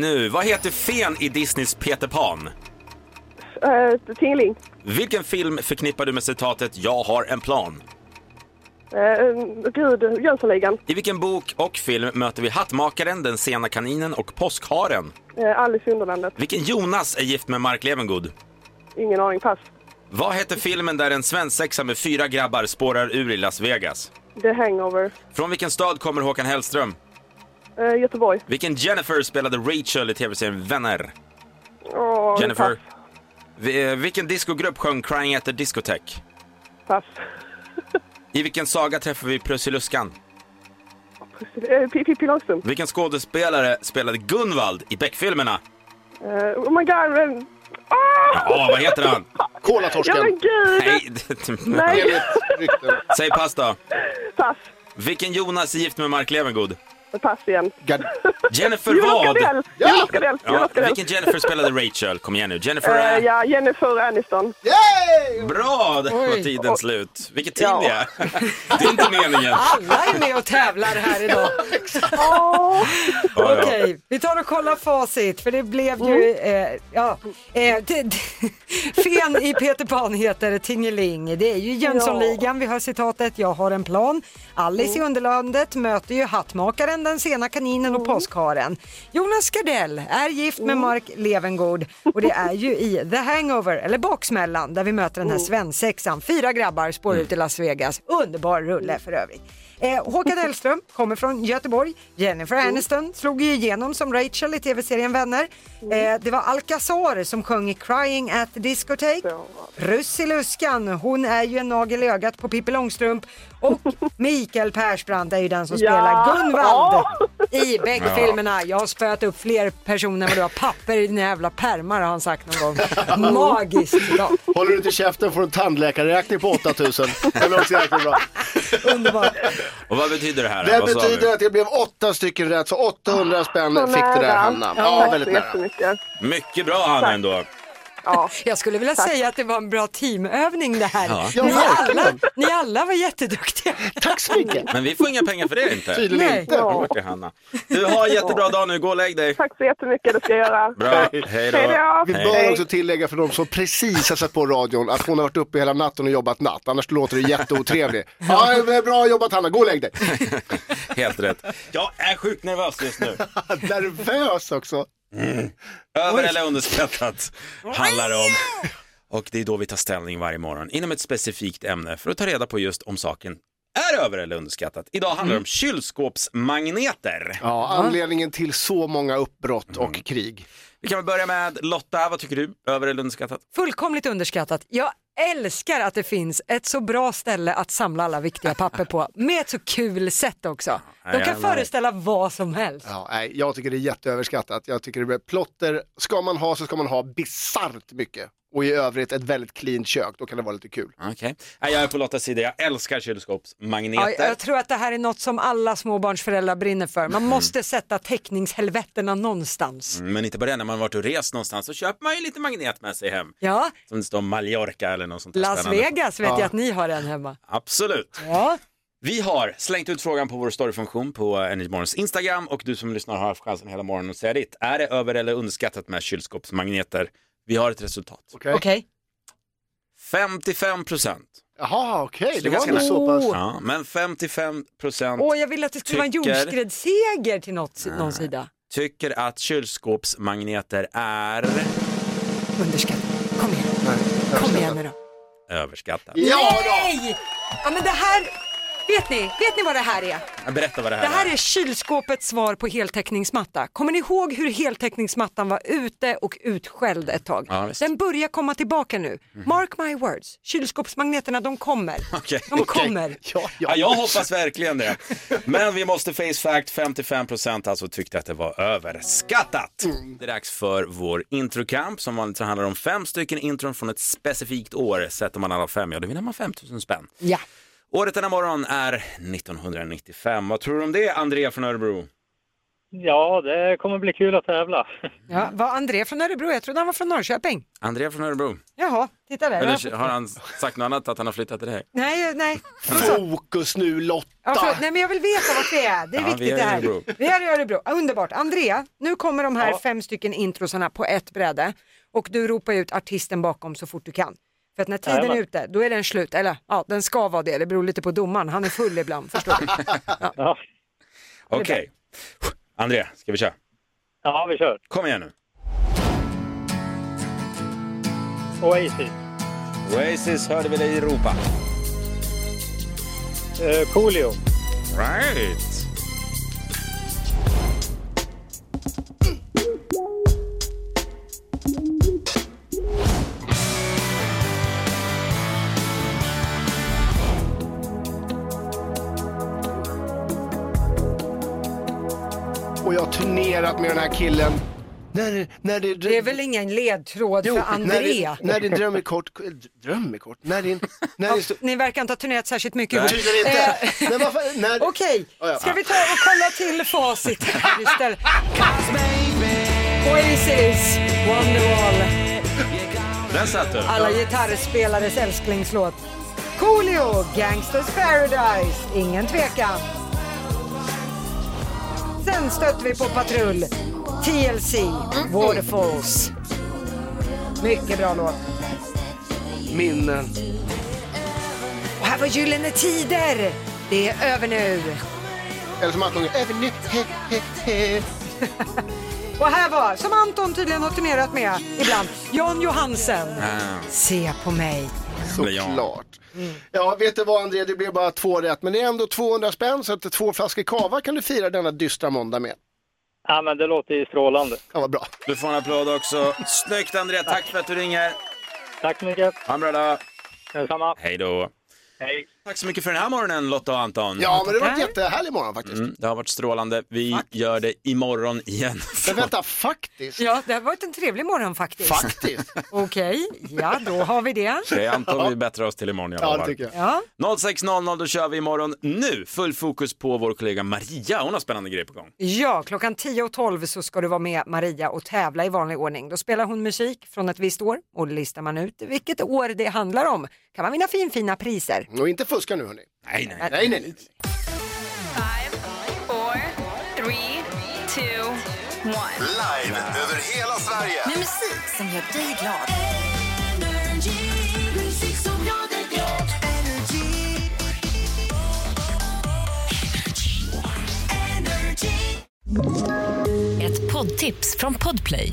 [SPEAKER 6] nu. Vad heter fen i Disneys Peter Pan?
[SPEAKER 10] Uh, tingling.
[SPEAKER 6] Vilken film förknippar du med citatet “Jag har en plan”?
[SPEAKER 10] Eh, gud, Jönssonligan.
[SPEAKER 6] I vilken bok och film möter vi Hattmakaren, Den sena kaninen och Påskharen?
[SPEAKER 10] Eh, Alice i Underlandet.
[SPEAKER 6] Vilken Jonas är gift med Mark Levengood?
[SPEAKER 10] Ingen aning, pass.
[SPEAKER 6] Vad heter filmen där en svensexa med fyra grabbar spårar ur i Las Vegas?
[SPEAKER 10] The Hangover.
[SPEAKER 6] Från vilken stad kommer Håkan Hellström?
[SPEAKER 10] Eh, Göteborg.
[SPEAKER 6] Vilken Jennifer spelade Rachel i tv-serien Vänner?
[SPEAKER 10] Åh,
[SPEAKER 6] Jennifer. Vi- eh, Vilken discogrupp sjöng Crying at the Discotheque?
[SPEAKER 10] Pass.
[SPEAKER 6] I vilken saga träffar vi Prussiluskan?
[SPEAKER 10] pass. Eh, P- Pippi Långstrump.
[SPEAKER 6] Vilken skådespelare spelade Gunvald i Beck-filmerna?
[SPEAKER 10] Eh, oh my god. eh,
[SPEAKER 6] Ja, vad heter han?
[SPEAKER 10] Ja men gud.
[SPEAKER 6] Nej, det-
[SPEAKER 10] Nej. Enligt
[SPEAKER 6] Säg pass då.
[SPEAKER 10] Pass.
[SPEAKER 6] Vilken Jonas är gift med Mark Levengood?
[SPEAKER 10] Pass igen.
[SPEAKER 6] Jennifer
[SPEAKER 10] Jonas
[SPEAKER 6] vad?
[SPEAKER 10] Gardell. Jonas Gardell.
[SPEAKER 6] Ja,
[SPEAKER 10] Jonas Gardell.
[SPEAKER 6] vilken Jennifer spelade Rachel? Kom igen nu. Jennifer
[SPEAKER 10] Eh,
[SPEAKER 6] är...
[SPEAKER 10] ja, Jennifer Aniston.
[SPEAKER 6] Bra! Där var
[SPEAKER 10] Oj.
[SPEAKER 6] tiden slut. Vilket tid det är. Det är inte meningen.
[SPEAKER 2] Alla är med och tävlar här idag.
[SPEAKER 10] Åh.
[SPEAKER 6] Ja, ja.
[SPEAKER 2] Okej, vi tar och kollar facit för det blev ju, eh, ja, eh, det, det, fen i Peter Pan heter Tingeling. Det är ju Jönssonligan, vi hör citatet, jag har en plan. Alice i Underlandet möter ju Hattmakaren, den sena kaninen och påskharen. Jonas Gardell är gift med Mark Levengood och det är ju i The Hangover, eller Baksmällan, där vi möter den här svensexan. Fyra grabbar spår ut i Las Vegas. Underbar rulle för övrigt. Eh, Håkan Hellström kommer från Göteborg. Jennifer Aniston slog ju igenom som Rachel i tv-serien Vänner. Eh, det var Alcazar som sjöng i Crying at the Discotheque. Russiluskan, hon är ju en nagel i ögat på Pippi Långstrump. Och Mikael Persbrandt är ju den som
[SPEAKER 10] Ja.
[SPEAKER 2] spelar Gunvald
[SPEAKER 10] Ja.
[SPEAKER 2] i Beck-filmerna. Jag har spöat upp fler personer än vad du har papper i dina jävla pärmar har han sagt någon gång. Magiskt idag.
[SPEAKER 3] Håller du inte käften får du en tandläkarräkning på 8000. Det blir också jäkligt bra.
[SPEAKER 6] Och vad betyder det här?
[SPEAKER 3] Det
[SPEAKER 6] Vad sa vi?
[SPEAKER 3] betyder att det blev åtta stycken rätt, så 800 spänn
[SPEAKER 10] Så
[SPEAKER 3] fick det där
[SPEAKER 10] nära.
[SPEAKER 3] Hanna.
[SPEAKER 10] Ja,
[SPEAKER 3] Ah, Ja, väldigt
[SPEAKER 10] så
[SPEAKER 3] nära.
[SPEAKER 10] jättemycket.
[SPEAKER 6] Mycket bra, Hanna,
[SPEAKER 10] Tack.
[SPEAKER 6] ändå.
[SPEAKER 2] Jag skulle vilja säga att det var en bra teamövning det här.
[SPEAKER 6] Ja.
[SPEAKER 2] Ni,
[SPEAKER 6] Ja,
[SPEAKER 2] alla, ni alla var jätteduktiga.
[SPEAKER 3] Tack så mycket.
[SPEAKER 6] Men vi får inga pengar för det inte.
[SPEAKER 2] Tydligen Nej. inte.
[SPEAKER 6] Bra till Hanna. Du har en jättebra dag nu. Gå och lägg dig.
[SPEAKER 10] Tack så jättemycket, det ska jag göra.
[SPEAKER 6] Bra. Hej då.
[SPEAKER 3] Vi bör också tillägga för de som precis har satt på radion att hon har varit uppe hela natten och jobbat natt, annars låter det jätteotrevlig. Ja, det är bra jobbat Hanna, gå och lägg dig.
[SPEAKER 6] Helt rätt. Jag är sjukt nervös just nu.
[SPEAKER 3] Nervös också.
[SPEAKER 6] Över eller underskattat handlar det om. Och det är då vi tar ställning varje morgon inom ett specifikt ämne för att ta reda på just om saken är över eller underskattat. Idag handlar det om kylskåpsmagneter.
[SPEAKER 3] Ja, Mm. anledningen till så många uppbrott och krig.
[SPEAKER 6] Vi kan väl börja med Lotta, vad tycker du? Över eller underskattat?
[SPEAKER 2] Fullkomligt underskattat. Jag älskar att det finns ett så bra ställe att samla alla viktiga papper på med ett så kul sätt också. De
[SPEAKER 3] Ja,
[SPEAKER 2] kan
[SPEAKER 3] jävlar.
[SPEAKER 2] föreställa vad som helst.
[SPEAKER 3] Ja, nej, jag tycker det är jätteöverskattat. Jag tycker det blir plotter. Ska man ha så ska man ha bisarrt mycket. Och i övrigt ett väldigt clean kök, då kan det vara lite kul.
[SPEAKER 6] Okej. Nej, Jag är på Lottas sida, jag älskar
[SPEAKER 2] Ja,
[SPEAKER 6] kylskåpsmagneter.
[SPEAKER 2] jag tror att det här är något som alla småbarnsföräldrar brinner för. Man måste sätta teckningshelvetena någonstans.
[SPEAKER 6] Mm, Men inte bara det, när man varit och rest någonstans så köper man ju lite magnet med sig hem.
[SPEAKER 2] Ja,
[SPEAKER 6] Som det står Mallorca eller något sånt där
[SPEAKER 2] Las
[SPEAKER 6] spännande.
[SPEAKER 2] Vegas vet
[SPEAKER 6] Ja.
[SPEAKER 2] jag att ni har en hemma.
[SPEAKER 6] Absolut.
[SPEAKER 2] Ja.
[SPEAKER 6] Vi har slängt ut frågan på vår storyfunktion på Energymorgons Instagram och du som lyssnar har haft chansen hela morgonen att säga ditt. Är det över eller underskattat med kylskåpsmagneter? Vi har ett resultat.
[SPEAKER 3] Okej.
[SPEAKER 6] 55 procent.
[SPEAKER 3] Jaha, okej,
[SPEAKER 6] Så
[SPEAKER 3] det
[SPEAKER 6] är
[SPEAKER 3] var
[SPEAKER 6] ganska
[SPEAKER 3] nog så
[SPEAKER 6] nära.
[SPEAKER 3] pass.
[SPEAKER 6] Ja, men 55 procent
[SPEAKER 2] Åh, jag ville att det skulle vara
[SPEAKER 6] Tycker-
[SPEAKER 2] en jordskredsseger till något, någon sida.
[SPEAKER 6] tycker att kylskåpsmagneter är
[SPEAKER 2] Underskattat. Kom igen nu då.
[SPEAKER 6] överskattat.
[SPEAKER 2] Nej! Ja, men det här, Vet ni, vet ni vad det här är?
[SPEAKER 6] Berätta vad det här,
[SPEAKER 2] Det här är kylskåpets svar på heltäckningsmatta. Kommer ni ihåg hur heltäckningsmattan var ute och utskälld ett tag?
[SPEAKER 6] Ja, visst. Mhm.
[SPEAKER 2] Den börjar komma tillbaka nu. Mark my words, kylskåpsmagneterna de kommer. De kommer.
[SPEAKER 3] Ja,
[SPEAKER 6] Ja, jag hoppas verkligen det. Men vi måste face fact, 55% alltså tyckte att det var överskattat. Det är dags för vår introkamp. Som vanligt så handlar det om fem stycken intron från ett specifikt år. Sätter man alla fem, ja då vinner man 5000 spänn.
[SPEAKER 2] Ja.
[SPEAKER 6] Året denna morgon är 1995. Vad tror du om det, Andrea från Örebro?
[SPEAKER 14] Ja, det kommer bli kul att tävla.
[SPEAKER 2] Ja, var André från Örebro? Jag trodde han var från Norrköping.
[SPEAKER 6] Andrea från Örebro?
[SPEAKER 2] Jaha, titta där.
[SPEAKER 6] Eller har han sagt något annat, att han har flyttat till dig?
[SPEAKER 2] Nej, nej.
[SPEAKER 3] Fokus nu Lotta!
[SPEAKER 2] Ja, förlåt. nej men jag vill veta vart vi är, det är
[SPEAKER 6] Ja,
[SPEAKER 2] viktigt
[SPEAKER 6] vi är i
[SPEAKER 2] det här.
[SPEAKER 6] Örebro.
[SPEAKER 2] Vi är i Örebro, Ah, underbart. Andrea, nu kommer de här
[SPEAKER 14] Ja.
[SPEAKER 2] fem stycken introsarna på ett bräde och du ropar ut artisten bakom så fort du kan. För att när tiden är
[SPEAKER 14] Jajamän.
[SPEAKER 2] ute, då är den slut, eller ja, den ska vara det, det beror lite på domaren, han är full ibland, förstår du?
[SPEAKER 14] Ja.
[SPEAKER 6] Okej. Andrea, ska vi köra?
[SPEAKER 14] Ja, vi kör.
[SPEAKER 6] Kom igen nu.
[SPEAKER 14] Oasis,
[SPEAKER 6] Oasis hörde vi dig ropa.
[SPEAKER 14] eh, Coolio,
[SPEAKER 6] Right.
[SPEAKER 3] Och jag har turnerat med den här killen. När, när det,
[SPEAKER 2] Det är väl ingen ledtråd för Andrea?
[SPEAKER 3] När, det- när din dröm är kort, dröm är kort, när din, när
[SPEAKER 2] Ja,
[SPEAKER 3] din stund,
[SPEAKER 2] Ni verkar inte ha turnerat särskilt mycket ihop.
[SPEAKER 3] Nej. Tydligen inte.
[SPEAKER 2] Eh,
[SPEAKER 3] Men vad fan, när...
[SPEAKER 2] Okej,
[SPEAKER 3] Ja, ja.
[SPEAKER 2] ska vi ta och kolla till facit här istället? Oasis, Wonderwall.
[SPEAKER 6] Där satt du.
[SPEAKER 2] Alla gitarrspelares älsklingslåt. Coolio, Gangsters Paradise, ingen tvekan. Sen stötte vi på patrull. TLC, Waterfalls. Mycket bra låt.
[SPEAKER 3] minnen.
[SPEAKER 2] Och här var Gyllene Tider. Det är över nu.
[SPEAKER 3] Eller som han sjunger, även nu, he, he, he.
[SPEAKER 2] Och här var, som Anton tydligen har turnerat med ibland, Jan Johansen. Se på mig.
[SPEAKER 3] Såklart. Ja, vet du vad André, det blev bara två rätt, men det är ändå 200 spänn så att två flaskor kava kan du fira denna dystra måndag med.
[SPEAKER 14] Ja, men det låter ju strålande.
[SPEAKER 3] Ja, vad bra.
[SPEAKER 6] Du får en applåd också. Snyggt Andrea, tack för att du ringer.
[SPEAKER 14] Tack så mycket.
[SPEAKER 6] Ha en bra dag.
[SPEAKER 14] Detsamma.
[SPEAKER 6] Hej då.
[SPEAKER 14] Hej.
[SPEAKER 6] Tack så mycket för den här morgonen Lotta och Anton.
[SPEAKER 3] Ja, men det var en jättehärlig morgon faktiskt.
[SPEAKER 6] Mm, det har varit strålande. Vi gör det imorgon igen.
[SPEAKER 3] Men vänta, faktiskt?
[SPEAKER 2] Ja, det har varit en trevlig morgon faktiskt.
[SPEAKER 3] Faktiskt?
[SPEAKER 2] Okej, ja då har vi det.
[SPEAKER 6] Okej, Anton, vi bättrar oss till imorgon i alla
[SPEAKER 3] Ja, det
[SPEAKER 6] fall.
[SPEAKER 3] tycker jag.
[SPEAKER 2] Ja.
[SPEAKER 6] 06.00, då kör vi imorgon. Nu, full fokus på vår kollega Maria. Hon har spännande grejer på gång.
[SPEAKER 2] Ja, klockan 10 och 12 så ska du vara med Maria och tävla i vanlig ordning. Då spelar hon musik från ett visst år och listar man ut vilket år det handlar om kan man vinna finfina priser.
[SPEAKER 3] Och inte fuska nu hörni.
[SPEAKER 6] Nej,
[SPEAKER 2] nej.
[SPEAKER 3] nej, nej, nej.
[SPEAKER 13] Four, three, two, one.
[SPEAKER 4] Live över hela Sverige.
[SPEAKER 5] Med musik som gör dig glad.
[SPEAKER 8] Ett poddtips från Podplay.